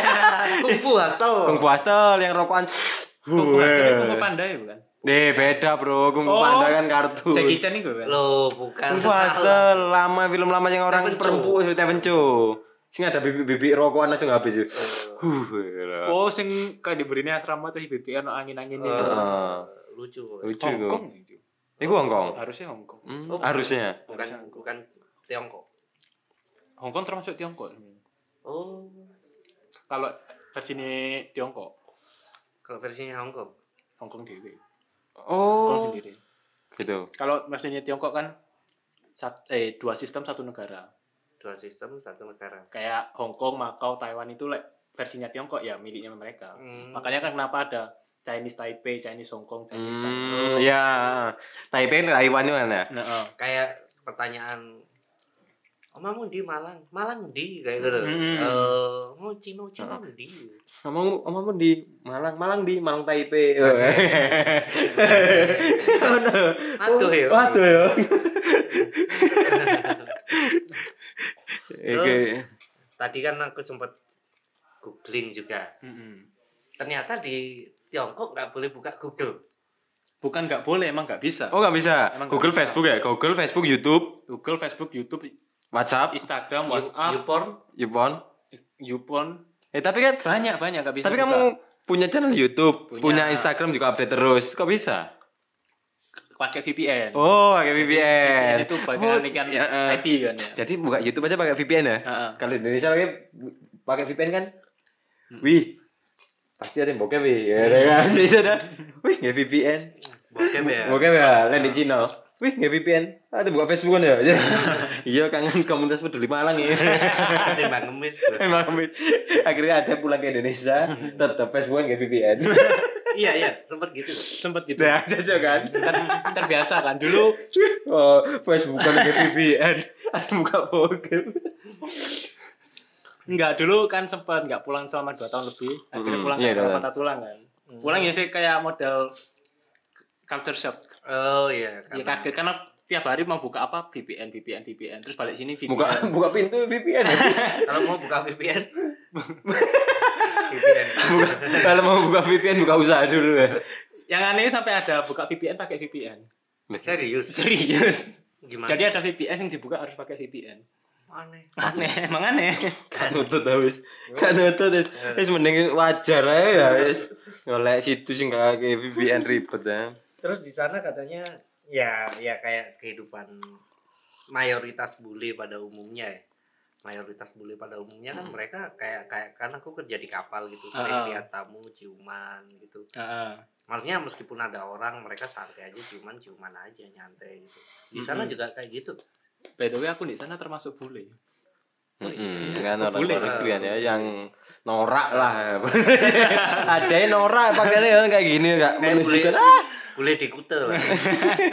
[SPEAKER 2] Kung Fu Hostel.
[SPEAKER 3] Kung Fu Hustle yang rokokan.
[SPEAKER 4] Kung Fu Hustle itu Kung Fu
[SPEAKER 3] Weh.
[SPEAKER 4] Panda ya bukan
[SPEAKER 3] Eh beda bro, Kung Fu
[SPEAKER 4] Oh.
[SPEAKER 3] Panda kan kartu.
[SPEAKER 4] Jackie Chan itu bukan
[SPEAKER 2] Loh, bukan.
[SPEAKER 3] Kung Fu
[SPEAKER 2] salah.
[SPEAKER 3] Hustle lama film lama yang orang
[SPEAKER 2] Stephen Chow.
[SPEAKER 3] perempuan Stephen Chow. Sing ada bibik-bibik rokokan langsung habis. itu.
[SPEAKER 2] Eh,
[SPEAKER 3] Huh, gila.
[SPEAKER 4] oh sing kayak diberinya asrama terus BBI no angin anginnya
[SPEAKER 2] eh,
[SPEAKER 4] uh,
[SPEAKER 3] Heeh.
[SPEAKER 2] lucu kok.
[SPEAKER 3] Lucu
[SPEAKER 4] Hong
[SPEAKER 3] itu.
[SPEAKER 4] Kong itu.
[SPEAKER 3] Iku Hongkong.
[SPEAKER 4] harusnya Hong Kong
[SPEAKER 3] Hmm,
[SPEAKER 2] Oh.
[SPEAKER 3] harusnya.
[SPEAKER 2] bukan bukan Tiongkok
[SPEAKER 4] Hong Kong termasuk Tiongkok
[SPEAKER 2] oh
[SPEAKER 4] kalau versinya Tiongkok
[SPEAKER 2] kalau versinya Hong Kong
[SPEAKER 4] Hong Kong dewe Hong Kong
[SPEAKER 3] Oh.
[SPEAKER 4] sendiri
[SPEAKER 3] Gitu.
[SPEAKER 4] kalau versinya Tiongkok kan sat- eh dua sistem satu negara
[SPEAKER 2] dua sistem satu negara
[SPEAKER 4] kayak Hong Kong Makau Taiwan itu like versinya Tiongkok ya miliknya mereka
[SPEAKER 2] Hmm.
[SPEAKER 4] makanya kan kenapa ada Chinese Taipei Chinese Hong Kong Chinese Taiwan
[SPEAKER 3] Hmm, ya. Taipei Taiwan itu mana?
[SPEAKER 4] nah, eh.
[SPEAKER 2] kayak pertanyaan omamu di Malang Malang di kayak gitu
[SPEAKER 4] Hmm.
[SPEAKER 2] Eh, mau Cino Cino di
[SPEAKER 3] Ngomong ngomong di Malang, Malang di Malang Taipei.
[SPEAKER 2] Waduh ya.
[SPEAKER 3] Waduh ya. Oke.
[SPEAKER 2] Terus- tadi kan aku sempat googling juga
[SPEAKER 4] Mm-mm.
[SPEAKER 2] ternyata di Tiongkok nggak boleh buka Google
[SPEAKER 4] bukan nggak boleh emang nggak bisa
[SPEAKER 3] Oh nggak bisa.
[SPEAKER 4] Emang nggak
[SPEAKER 3] Google
[SPEAKER 4] bisa.
[SPEAKER 3] Facebook ya. Google Facebook YouTube
[SPEAKER 4] Google Facebook YouTube
[SPEAKER 3] WhatsApp
[SPEAKER 4] Instagram
[SPEAKER 2] You-
[SPEAKER 4] WhatsApp
[SPEAKER 2] YouPorn
[SPEAKER 3] Yupon.
[SPEAKER 4] YouPorn
[SPEAKER 3] Eh tapi kan
[SPEAKER 4] banyak banyak nggak bisa
[SPEAKER 3] tapi
[SPEAKER 4] buka.
[SPEAKER 3] kamu punya channel YouTube, punya.
[SPEAKER 4] Punya.
[SPEAKER 3] Instagram juga update terus. Kok bisa?
[SPEAKER 4] pakai VPN
[SPEAKER 3] Oh, pakai VPN.
[SPEAKER 4] VPN itu bagian
[SPEAKER 3] Oh,
[SPEAKER 4] ikan
[SPEAKER 3] ya, eh.
[SPEAKER 4] IP kan Ah. ya
[SPEAKER 3] Jadi buka YouTube aja pakai VPN ya?
[SPEAKER 4] Heeh.
[SPEAKER 3] Kalau di Indonesia pakai pakai VPN kan? Wih. Pasti ada yang bokep, wih. Ya ada kan? Bisa dah. Wih, nggak VPN.
[SPEAKER 2] bokep ya
[SPEAKER 3] Bokep ya, lain di Cina. Wih, nggak VPN. Ada buka Facebook kan ya? Iya, kangen komunitas peduli Malang ya.
[SPEAKER 2] timbang ngemis
[SPEAKER 3] Emang Mit. akhirnya ada pulang ke Indonesia, tetap Facebook nggak VPN.
[SPEAKER 2] iya iya sempat gitu loh.
[SPEAKER 4] sempet gitu
[SPEAKER 3] Nah, aja kan.
[SPEAKER 4] Ter- terbiasa kan dulu
[SPEAKER 3] Oh, Facebook nggak VPN. Ada buka bokep.
[SPEAKER 4] nggak dulu kan sempet nggak pulang selama dua tahun lebih akhirnya
[SPEAKER 3] Mm,
[SPEAKER 4] pulang
[SPEAKER 3] iya,
[SPEAKER 4] ke
[SPEAKER 3] kan.
[SPEAKER 4] patah tulang kan pulang ya sih kayak model culture shock
[SPEAKER 2] oh iya
[SPEAKER 4] ya
[SPEAKER 2] karena-
[SPEAKER 4] kaget karena tiap hari mau buka apa VPN VPN VPN terus balik sini VPN
[SPEAKER 3] Buka buka pintu VPN. ya.
[SPEAKER 2] kalau mau buka VPN VPN
[SPEAKER 3] buka, kalau mau buka VPN buka usaha dulu ya.
[SPEAKER 4] yang aneh sampai ada buka VPN pakai VPN
[SPEAKER 2] serius
[SPEAKER 4] serius
[SPEAKER 2] gimana
[SPEAKER 4] jadi ada VPN yang dibuka harus pakai VPN
[SPEAKER 2] aneh
[SPEAKER 4] aneh emang aneh
[SPEAKER 3] Gak nutut lah, wis. Gak nutut wis. Wis mending wajar aja ya wis. Golek situs sing gak kayak VPN ribet ya.
[SPEAKER 2] terus di sana katanya ya ya kayak kehidupan mayoritas bule pada umumnya ya mayoritas bule pada umumnya kan
[SPEAKER 4] Hmm.
[SPEAKER 2] mereka kayak kayak karena aku kerja di kapal gitu
[SPEAKER 4] Ah.
[SPEAKER 2] sering lihat tamu ciuman gitu
[SPEAKER 4] Heeh.
[SPEAKER 2] maksudnya meskipun ada orang mereka santai aja ciuman ciuman aja nyantai gitu di sana
[SPEAKER 4] Mhm.
[SPEAKER 2] juga kayak gitu
[SPEAKER 4] By the way aku di sana termasuk bule.
[SPEAKER 3] Mm-mm, kan orang
[SPEAKER 4] Boleh.
[SPEAKER 3] orang itu kan ya yang norak lah ada yang norak pakainya orang kayak gini nggak
[SPEAKER 2] Kayak
[SPEAKER 3] menunjukkan
[SPEAKER 2] bule-
[SPEAKER 3] ah
[SPEAKER 2] bule di kute lah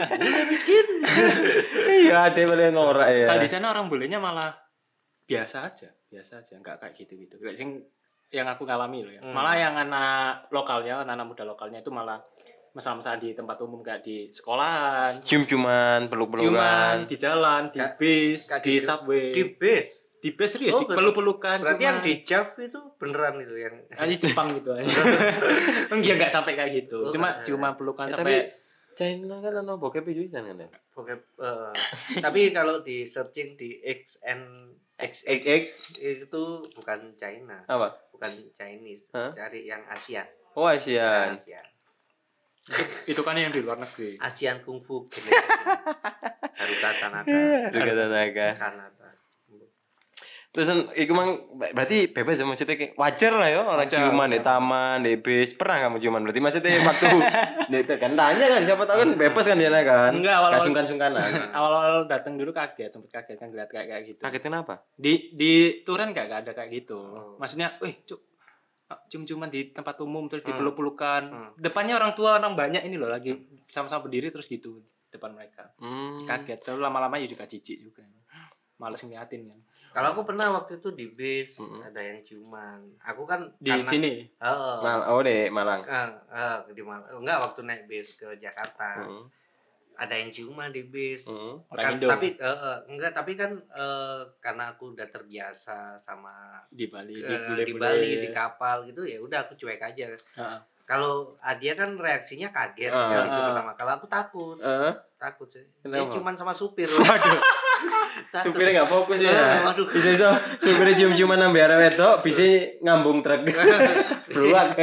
[SPEAKER 2] bule miskin
[SPEAKER 3] iya ada yang paling norak
[SPEAKER 2] Iya.
[SPEAKER 3] ya
[SPEAKER 4] Kalau di sana orang bulenya malah biasa aja, biasa aja, nggak kayak gitu-gitu. Kayak sing yang aku alami loh ya.
[SPEAKER 2] Hmm.
[SPEAKER 4] Malah yang anak lokalnya, anak muda lokalnya itu malah mesra-mesra di tempat umum kayak di sekolahan,
[SPEAKER 3] cium cuman peluk
[SPEAKER 4] ciuman,
[SPEAKER 3] pelukan
[SPEAKER 4] di jalan, di
[SPEAKER 2] Ka-
[SPEAKER 4] bis,
[SPEAKER 2] ka-
[SPEAKER 4] di
[SPEAKER 2] di-
[SPEAKER 4] subway,
[SPEAKER 2] di
[SPEAKER 4] di,
[SPEAKER 2] base
[SPEAKER 4] bis serius,
[SPEAKER 2] Oh,
[SPEAKER 4] di peluk-pelukan.
[SPEAKER 2] berarti yang
[SPEAKER 4] cuman-
[SPEAKER 2] di Jav itu beneran itu yang
[SPEAKER 4] Hanya Jepang gitu aja. Enggak enggak sampai kayak gitu.
[SPEAKER 2] Oh,
[SPEAKER 4] Cuma
[SPEAKER 2] eh.
[SPEAKER 4] cuma pelukan
[SPEAKER 3] Eh,
[SPEAKER 4] sampai
[SPEAKER 3] China kan ono bokep itu kan kan ya?
[SPEAKER 2] bokep, eh, tapi kalau di searching di XN
[SPEAKER 3] X X X
[SPEAKER 2] itu bukan China
[SPEAKER 3] apa
[SPEAKER 2] bukan Chinese
[SPEAKER 3] Hah?
[SPEAKER 2] cari yang Nah, Asia
[SPEAKER 3] oh Asia
[SPEAKER 2] Asia
[SPEAKER 4] itu kan yang di luar negeri.
[SPEAKER 2] ASEAN Kung Fu Generation Haruka Tanaka
[SPEAKER 3] juga tenaga
[SPEAKER 2] Kanata
[SPEAKER 3] terus kan, iku mang berarti bebas ya maksudnya kayak wajar lah ya orang
[SPEAKER 4] Wajar,
[SPEAKER 3] ciuman di
[SPEAKER 4] wajar.
[SPEAKER 3] taman di bis pernah kamu ciuman berarti maksudnya waktu di itu kan tanya kan siapa tahu kan bebas kan dia kan
[SPEAKER 4] Enggak, awal-awal-
[SPEAKER 3] Nggak
[SPEAKER 2] Ah.
[SPEAKER 3] sungkan-sungkanan
[SPEAKER 4] Awal-awal datang dulu kaget, sempet kaget kan ngeliat kayak kayak gitu.
[SPEAKER 3] kaget kenapa
[SPEAKER 4] Di di Turan enggak ada kayak gitu.
[SPEAKER 2] Oh.
[SPEAKER 4] Maksudnya, eh, cuk ah, cium-ciuman di tempat umum terus
[SPEAKER 2] Hmm.
[SPEAKER 4] dipeluk-pelukan.
[SPEAKER 2] Hmm.
[SPEAKER 4] Depannya orang tua orang banyak ini loh lagi sama-sama berdiri terus gitu depan mereka.
[SPEAKER 3] Hmm.
[SPEAKER 4] Kaget, selalu lama-lama ya juga jijik juga. Males ngeliatin kan.
[SPEAKER 2] kalau aku pernah waktu itu di bis
[SPEAKER 3] Mm-mm.
[SPEAKER 2] ada yang ciuman aku kan
[SPEAKER 4] Di sini.
[SPEAKER 2] Heeh.
[SPEAKER 3] Mal oh deh Malang.
[SPEAKER 2] Eh, eh, di Mal- enggak waktu naik bis ke Jakarta
[SPEAKER 3] Heeh.
[SPEAKER 2] ada yang ciuman di bis
[SPEAKER 3] Heeh.
[SPEAKER 4] Orang
[SPEAKER 2] Kan-
[SPEAKER 4] Indo.
[SPEAKER 2] tapi eh, eh, enggak tapi kan eh, karena aku udah terbiasa sama
[SPEAKER 4] di Bali,
[SPEAKER 2] eh, di
[SPEAKER 4] di,
[SPEAKER 2] Bali di kapal gitu ya udah aku cuek aja
[SPEAKER 4] Heeh.
[SPEAKER 2] kalau ah, dia kan reaksinya kaget
[SPEAKER 3] Ah.
[SPEAKER 2] kan, itu
[SPEAKER 4] Ah.
[SPEAKER 2] pertama kalau aku takut
[SPEAKER 3] Eh,
[SPEAKER 2] takut sih dia
[SPEAKER 3] Kenapa?
[SPEAKER 2] cuman sama supir
[SPEAKER 3] Waduh,
[SPEAKER 2] Takut.
[SPEAKER 3] supirnya nggak fokus ya.
[SPEAKER 2] Eh, waduh.
[SPEAKER 3] Bisa so, supirnya cium-ciuman nang biara wedok, bisa ngambung truk. Beruak.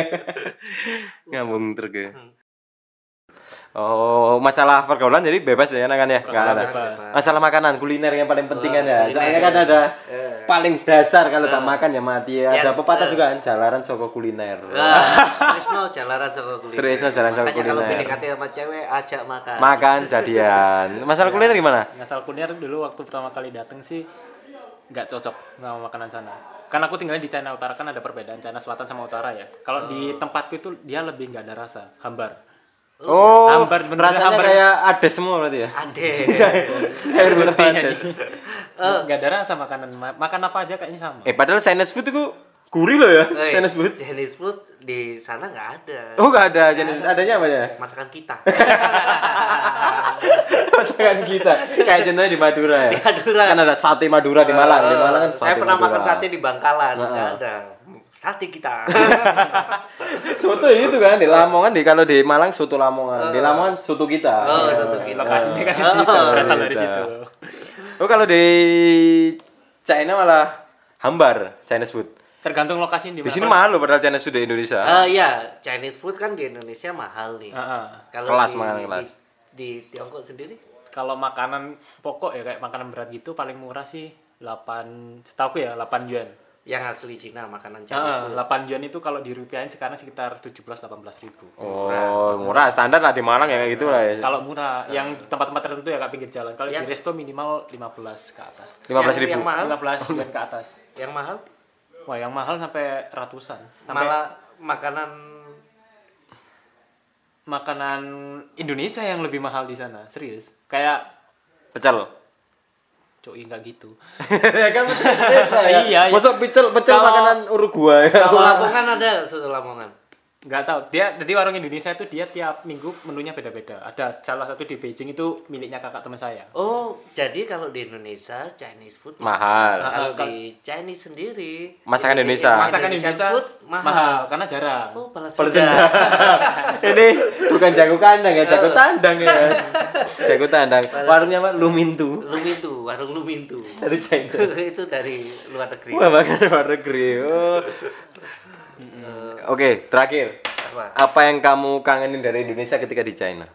[SPEAKER 3] ngambung truk ya.
[SPEAKER 2] Hmm.
[SPEAKER 3] Oh, masalah pergaulan jadi bebas ya kan ya? Enggak ada.
[SPEAKER 4] Pergaulan bebas.
[SPEAKER 3] Masalah makanan kuliner yang paling penting kan ya.
[SPEAKER 2] Oh, Kuliner.
[SPEAKER 3] Soalnya kan ada
[SPEAKER 2] Eh.
[SPEAKER 3] paling dasar kalau tak makan ya mati.
[SPEAKER 2] Ya,
[SPEAKER 3] Ada pepatah
[SPEAKER 2] eh.
[SPEAKER 3] juga kan jalanan soko kuliner.
[SPEAKER 2] Ah, Trisno jalanan sama kuliner.
[SPEAKER 3] Trisno jalan sama
[SPEAKER 2] Makanya kalau
[SPEAKER 3] kuliner.
[SPEAKER 2] PDKT sama cewek ajak makan.
[SPEAKER 3] Makan jadian.
[SPEAKER 2] Ya.
[SPEAKER 3] Masalah kuliner gimana?
[SPEAKER 4] Ngasal kuliner dulu waktu pertama kali datang sih nggak cocok sama makanan sana. Kan aku tinggalnya di China Utara kan ada perbedaan China Selatan sama Utara ya. Kalau di
[SPEAKER 2] Oh.
[SPEAKER 4] tempatku itu dia lebih nggak ada rasa, hambar.
[SPEAKER 3] Oh,
[SPEAKER 4] Hambar, bener-bener
[SPEAKER 3] rasanya
[SPEAKER 4] hambar.
[SPEAKER 3] kayak ada semua berarti ya?
[SPEAKER 2] Ade.
[SPEAKER 3] Air putih ades.
[SPEAKER 4] Nggak ada rasa makanan, ma- makan apa aja kayaknya sama.
[SPEAKER 3] Eh, padahal Chinese food itu gurih loh ya,
[SPEAKER 2] Oi,
[SPEAKER 3] Chinese food.
[SPEAKER 2] Chinese food di sana nggak ada.
[SPEAKER 3] Oh, gak ada Chinese, adanya apa ya?
[SPEAKER 2] Masakan kita.
[SPEAKER 3] Masakan kita. Kayak contohnya di Madura ya.
[SPEAKER 2] Madura. Eh,
[SPEAKER 3] Kan ada sate Madura di Malang. Di Malang kan sate
[SPEAKER 2] Saya pernah
[SPEAKER 3] Madura.
[SPEAKER 2] makan sate di Bangkalan, nggak ada. Sate kita.
[SPEAKER 3] Soto ya itu kan di Lamongan di kalau di Malang soto Lamongan. Di Lamongan kan soto kita.
[SPEAKER 2] Eh. Oh, soto
[SPEAKER 3] Ya.
[SPEAKER 2] kita.
[SPEAKER 4] Lokasinya kan di
[SPEAKER 3] Oh,
[SPEAKER 4] situ, berasal dari
[SPEAKER 3] gitu.
[SPEAKER 4] situ.
[SPEAKER 3] Oh, kalau di China malah hambar Chinese food.
[SPEAKER 4] Tergantung lokasi
[SPEAKER 3] Di
[SPEAKER 4] di mana.
[SPEAKER 3] sini mahal loh padahal Chinese food di Indonesia.
[SPEAKER 4] Ah.
[SPEAKER 2] Eh ya, Chinese food kan di Indonesia mahal nih.
[SPEAKER 4] Heeh.
[SPEAKER 2] Kalau
[SPEAKER 3] Kelas,
[SPEAKER 2] di-
[SPEAKER 3] makanan
[SPEAKER 2] di-
[SPEAKER 3] kelas.
[SPEAKER 2] Di Tiongkok sendiri?
[SPEAKER 4] Kalau makanan pokok ya kayak makanan berat gitu paling murah sih 8 setahu ya 8 yuan.
[SPEAKER 2] Yang asli Cina makanan Chinese
[SPEAKER 4] Heeh,
[SPEAKER 2] food.
[SPEAKER 4] 8 yuan itu kalau dirupiahin sekarang sekitar 17-18 ribu.
[SPEAKER 3] Oh, murah standar lah di Malang ya kayak gitu lah ya.
[SPEAKER 4] Kalau murah, yang tempat-tempat tertentu ya kayak pinggir jalan. Kalau di
[SPEAKER 2] Yang-
[SPEAKER 4] resto minimal 15 ke atas.
[SPEAKER 3] lima belas ribu.
[SPEAKER 2] Yang, yang mahal?
[SPEAKER 4] 15 dan ke atas.
[SPEAKER 2] Yang mahal?
[SPEAKER 4] Wah, yang mahal sampai ratusan. Sampai
[SPEAKER 2] Malah makanan
[SPEAKER 4] makanan Indonesia yang lebih mahal di sana, serius. Kayak
[SPEAKER 3] Pecel.
[SPEAKER 4] cuy enggak gitu.
[SPEAKER 3] ya kan pecel biasa ya.
[SPEAKER 4] Iya, iya.
[SPEAKER 3] Masuk pecel pecel
[SPEAKER 4] Kalau-
[SPEAKER 3] makanan Uruguay.
[SPEAKER 2] Satu Lamongan ada satu Lamongan.
[SPEAKER 4] Enggak tahu. Dia jadi orang Indonesia itu dia tiap minggu menunya beda-beda. Ada salah satu di Beijing itu miliknya kakak teman saya.
[SPEAKER 2] Oh, jadi kalau di Indonesia Chinese food
[SPEAKER 3] Mahal.
[SPEAKER 2] Kalau
[SPEAKER 4] Ah, kalau-
[SPEAKER 2] di Chinese sendiri di- di-
[SPEAKER 3] Masakan Indonesia.
[SPEAKER 4] Masakan
[SPEAKER 2] Indonesian
[SPEAKER 4] Indonesia
[SPEAKER 2] food mahal.
[SPEAKER 4] karena jarang.
[SPEAKER 2] Oh, balas
[SPEAKER 3] Balas
[SPEAKER 2] dendam.
[SPEAKER 3] Ini bukan jago kandang ya, jago tandang ya. jago tandang. Warungnya apa? Lumintu.
[SPEAKER 2] Lumintu, warung Lumintu.
[SPEAKER 3] Dari China.
[SPEAKER 2] itu dari luar negeri.
[SPEAKER 3] Wah, makan luar negeri. Oh. Oke, terakhir.
[SPEAKER 2] Apa?
[SPEAKER 3] Apa yang kamu kangenin dari Indonesia ketika di China?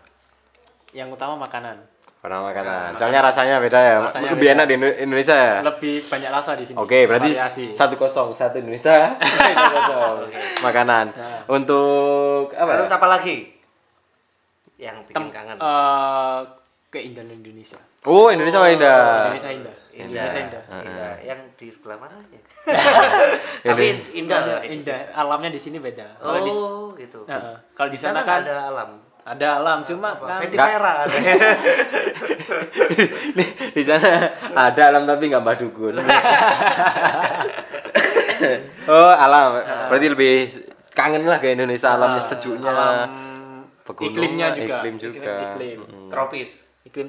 [SPEAKER 4] Yang utama makanan.
[SPEAKER 3] Pernah makanan. Soalnya rasanya beda ya.
[SPEAKER 4] Rasanya
[SPEAKER 3] Lebih
[SPEAKER 4] beda.
[SPEAKER 3] enak di Indo- Indonesia ya.
[SPEAKER 4] Lebih banyak rasa di sini.
[SPEAKER 3] Oke, berarti
[SPEAKER 4] Variasi.
[SPEAKER 3] satu kosong satu Indonesia, satu kosong makanan.
[SPEAKER 4] Nah.
[SPEAKER 3] Untuk apa? ya?
[SPEAKER 2] Terus apa lagi? Yang bikin kangen.
[SPEAKER 4] Eh, keindahan Indonesia.
[SPEAKER 3] Oh Indonesia mah indah.
[SPEAKER 4] Indonesia indah. Indonesia indah.
[SPEAKER 2] Indah. Iya, Yang di sebelah mana ya? Tapi indah lah.
[SPEAKER 4] Indah, indah. Alamnya di sini beda. Kalau di
[SPEAKER 2] Oh, gitu.
[SPEAKER 4] eh, eh, kalau di
[SPEAKER 2] Di sana
[SPEAKER 4] sana kan
[SPEAKER 2] nggak ada alam.
[SPEAKER 4] ada alam cuma kan
[SPEAKER 2] Venti Vera ada.
[SPEAKER 3] Nih, di sana ada alam tapi nggak mbah dukun. oh alam,
[SPEAKER 4] Nah.
[SPEAKER 3] berarti lebih kangen lah ke Indonesia alamnya sejuknya,
[SPEAKER 4] alam
[SPEAKER 3] pegunungan,
[SPEAKER 4] iklimnya juga.
[SPEAKER 3] iklim juga.
[SPEAKER 4] Iklim.
[SPEAKER 2] Tropis.
[SPEAKER 4] Iklim.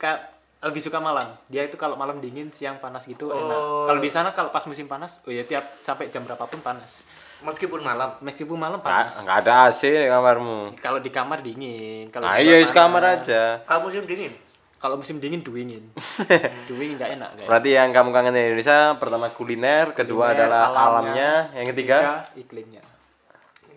[SPEAKER 4] Ka- lebih suka malam. Dia itu kalau malam dingin, siang panas gitu enak.
[SPEAKER 3] Oh.
[SPEAKER 4] Kalau di sana kalau pas musim panas, oh ya tiap sampai jam berapapun panas.
[SPEAKER 2] Meskipun malam.
[SPEAKER 4] Meskipun malam
[SPEAKER 3] Nggak
[SPEAKER 4] panas.
[SPEAKER 3] nggak ada AC di kamarmu.
[SPEAKER 4] Kalau di kamar dingin. Kalau
[SPEAKER 3] Nah
[SPEAKER 4] di
[SPEAKER 3] iya
[SPEAKER 4] luar
[SPEAKER 3] di
[SPEAKER 4] panas.
[SPEAKER 3] kamar aja.
[SPEAKER 2] Kalau musim dingin.
[SPEAKER 4] Kalau musim dingin duingin. duingin nggak enak guys.
[SPEAKER 3] Berarti yang kamu kangen dari Indonesia pertama kuliner, kedua
[SPEAKER 4] Kuliner,
[SPEAKER 3] adalah
[SPEAKER 4] alamnya.
[SPEAKER 3] alamnya, yang ketiga
[SPEAKER 4] iklimnya.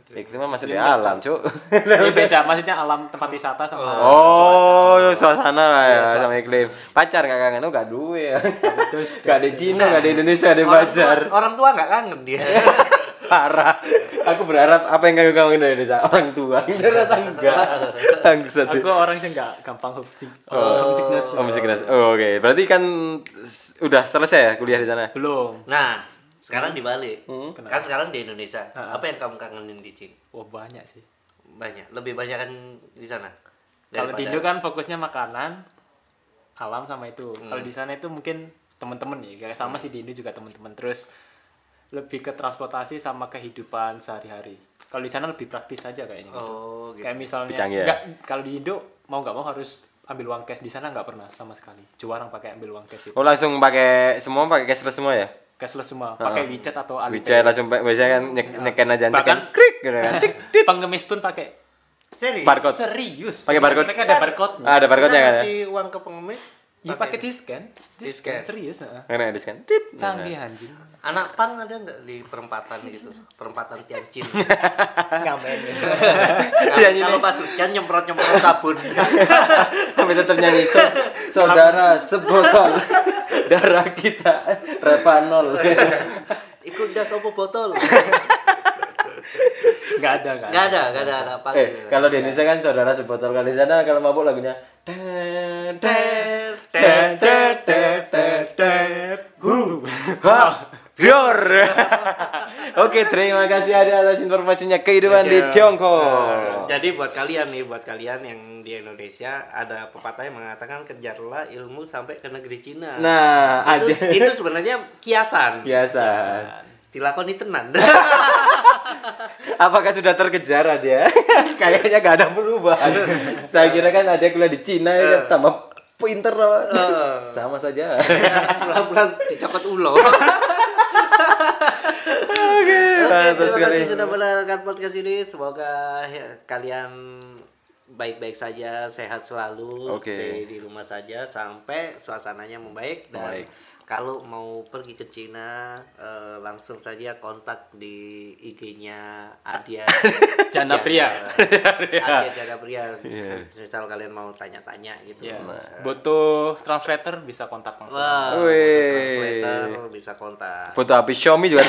[SPEAKER 3] iklimnya masih di alam, cuk.
[SPEAKER 4] Ya, beda maksudnya alam tempat wisata sama
[SPEAKER 3] Oh, suasana lah
[SPEAKER 4] Iya,
[SPEAKER 3] ya, sama iklim. Pacar gak kangen, oh gak duwe ya. gak ada Cina, gak ada Indonesia,
[SPEAKER 2] Orang
[SPEAKER 3] ada
[SPEAKER 2] tua,
[SPEAKER 3] pacar.
[SPEAKER 2] orang tua nggak kangen dia.
[SPEAKER 3] Parah. Aku berharap apa yang kamu kangen dari Indonesia? Orang tua, Indonesia tangga. Bangsat.
[SPEAKER 4] Iya, aku eh, orang yang nggak gampang homesick. homesickness.
[SPEAKER 3] Oh, musik keras. Oh, Oke, berarti kan s- udah selesai ya kuliah di sana?
[SPEAKER 4] Belum.
[SPEAKER 2] Nah, sekarang dibalik.
[SPEAKER 4] Hmm.
[SPEAKER 2] Kan sekarang di Indonesia. Apa yang kamu kangenin di Cina?
[SPEAKER 4] Wah Oh, banyak sih.
[SPEAKER 2] Banyak. Lebih banyak kan di sana.
[SPEAKER 4] Kalau di
[SPEAKER 2] Daripada-
[SPEAKER 4] Indo kan fokusnya makanan, alam sama itu.
[SPEAKER 2] Hmm.
[SPEAKER 4] Kalau di sana itu mungkin teman-teman ya, kayak sama sih di Indo juga teman-teman. Terus lebih ke transportasi sama kehidupan sehari-hari. Kalau di sana lebih praktis aja kayaknya. gitu.
[SPEAKER 2] Oh, gitu.
[SPEAKER 4] Kayak misalnya,
[SPEAKER 3] Lebih canggih ya?
[SPEAKER 4] nggak- kalau di Indo mau nggak mau harus ambil uang cash di sana nggak pernah sama sekali. Jarang pakai ambil uang cash itu.
[SPEAKER 3] Oh, langsung pakai semua pakai cashless semua ya?
[SPEAKER 4] Cashless semua, pakai WeChat atau
[SPEAKER 3] Wijaya
[SPEAKER 4] Alipay.
[SPEAKER 3] Oh.
[SPEAKER 4] Iya.
[SPEAKER 3] langsung pa- biasanya kan nyek- nyeken aja
[SPEAKER 4] Bahkan-
[SPEAKER 3] nyeken krik gitu kan. Tik.
[SPEAKER 4] Pengemis pun pakai
[SPEAKER 2] Serius?
[SPEAKER 3] Barcode.
[SPEAKER 4] serius.
[SPEAKER 3] Pakai barcode?
[SPEAKER 4] Mereka ada barcode.
[SPEAKER 3] Ah, ada barcode-nya kan
[SPEAKER 2] Kita
[SPEAKER 3] ya? Iya,
[SPEAKER 2] kasih uang ke pengemis.
[SPEAKER 4] Ya pakai diskan. Diskan
[SPEAKER 2] Discount.
[SPEAKER 4] serius, heeh.
[SPEAKER 3] Kan ada kan. Tit.
[SPEAKER 4] Canggih anjing.
[SPEAKER 2] Anak pan ada nggak di perempatan gitu? Perempatan Tianjin.
[SPEAKER 4] Ngamen.
[SPEAKER 2] Nah,
[SPEAKER 3] Iya,
[SPEAKER 2] kalau pas hujan nyemprot-nyemprot sabun.
[SPEAKER 3] Tapi tetap nyanyi "So- saudara sebotol darah kita repanol.
[SPEAKER 4] Iya.
[SPEAKER 2] Ikut das opo botol.
[SPEAKER 3] Eh,
[SPEAKER 4] Nggak ada, nggak ada.
[SPEAKER 2] Gak ada, gak ada anak gitu. pan.
[SPEAKER 3] eh, kalau di Indonesia kan saudara sebotol kalau di sana kalau mabuk lagunya "Der, der, der, der, der, der, der, hu, ha, bior." Oke, terima kasih ada atas informasinya kehidupan di Tiongkok.
[SPEAKER 2] Jadi buat kalian nih, buat kalian yang di Indonesia ada pepatah yang mengatakan kejarlah ilmu sampai ke negeri Cina.
[SPEAKER 3] Nah, ada
[SPEAKER 2] itu, itu sebenarnya kiasan.
[SPEAKER 3] biasa.
[SPEAKER 2] Dilakoni tenan.
[SPEAKER 3] Apakah sudah terkejar dia? Kayaknya gak ada perubahan. Saya kira kan ada kuliah di Cina ya
[SPEAKER 2] Eh.
[SPEAKER 3] kan tambah pinter loh. Sama saja.
[SPEAKER 2] Pulang-pulang dicokot ulo. Oke,
[SPEAKER 3] mantap
[SPEAKER 2] terima
[SPEAKER 3] sekali.
[SPEAKER 2] kasih sudah mendengarkan podcast ini. Semoga ya, kalian baik-baik saja, sehat selalu,
[SPEAKER 3] Oke.
[SPEAKER 2] stay di rumah saja sampai suasananya membaik dan
[SPEAKER 3] Membaik.
[SPEAKER 2] kalau mau pergi ke Cina eh, langsung saja kontak di IG-nya Adia
[SPEAKER 4] Jana Pria.
[SPEAKER 2] Adia Iya, Jana Pria. Misal kalian mau tanya-tanya gitu.
[SPEAKER 4] Ya. Butuh translator bisa kontak langsung.
[SPEAKER 2] Wah, butuh
[SPEAKER 3] Wih.
[SPEAKER 2] translator bisa kontak.
[SPEAKER 3] Foto habis Xiaomi juga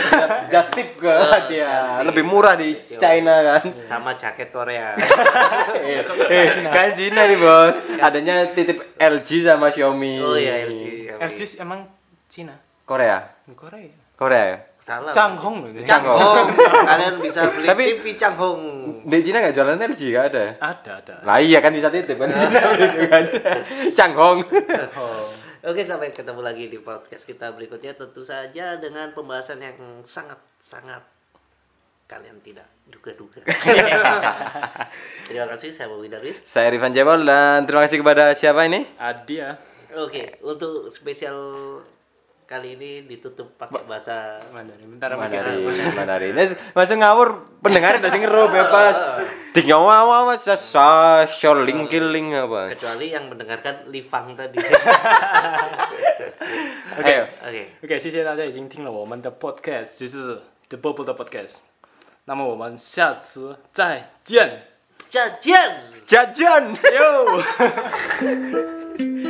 [SPEAKER 3] just tip ke
[SPEAKER 2] Eh,
[SPEAKER 3] dia. Lebih murah di
[SPEAKER 2] Iya.
[SPEAKER 3] China kan.
[SPEAKER 2] Sama jaket Korea.
[SPEAKER 3] Eh, eh, kan Cina nih, Bos. Adanya titip LG sama Xiaomi.
[SPEAKER 2] Oh iya LG.
[SPEAKER 4] LG Eh, emang Cina,
[SPEAKER 3] Korea.
[SPEAKER 4] Korea.
[SPEAKER 3] Korea ya?
[SPEAKER 2] Salah.
[SPEAKER 4] Changhong loh. dia.
[SPEAKER 2] Changhong. Kalian bisa beli
[SPEAKER 3] Tapi-
[SPEAKER 2] TV Changhong.
[SPEAKER 3] Di Cina gak jualan LG gak ada. ya?
[SPEAKER 4] Ada, ada.
[SPEAKER 3] Lah iya kan bisa titip kan di Cina
[SPEAKER 2] Ah.
[SPEAKER 3] gitu kan. Changhong.
[SPEAKER 2] Oke, sampai ketemu lagi di podcast kita berikutnya tentu saja dengan pembahasan yang sangat sangat kalian tidak duga-duga. Terima kasih saya Bobby Darwin.
[SPEAKER 3] Saya Rifan Jebol dan terima kasih kepada siapa ini?
[SPEAKER 4] Adia.
[SPEAKER 2] Oke, untuk spesial kali ini ditutup pakai bahasa
[SPEAKER 4] Mandarin. Bentar
[SPEAKER 3] Mandarin,
[SPEAKER 4] Mandarin.
[SPEAKER 3] Mandarin. Ini masuk ngawur pendengar udah sing ngeru bebas. Tiga wawa wasa sa sholing killing apa.
[SPEAKER 2] kecuali yang mendengarkan Livang tadi.
[SPEAKER 3] Ayo.
[SPEAKER 2] Oke.
[SPEAKER 4] OK，谢谢大家已经听了我们的 podcast，就是的波波的 podcast。那么我们下次再见，
[SPEAKER 2] Jajan.
[SPEAKER 3] Jajan. Yo.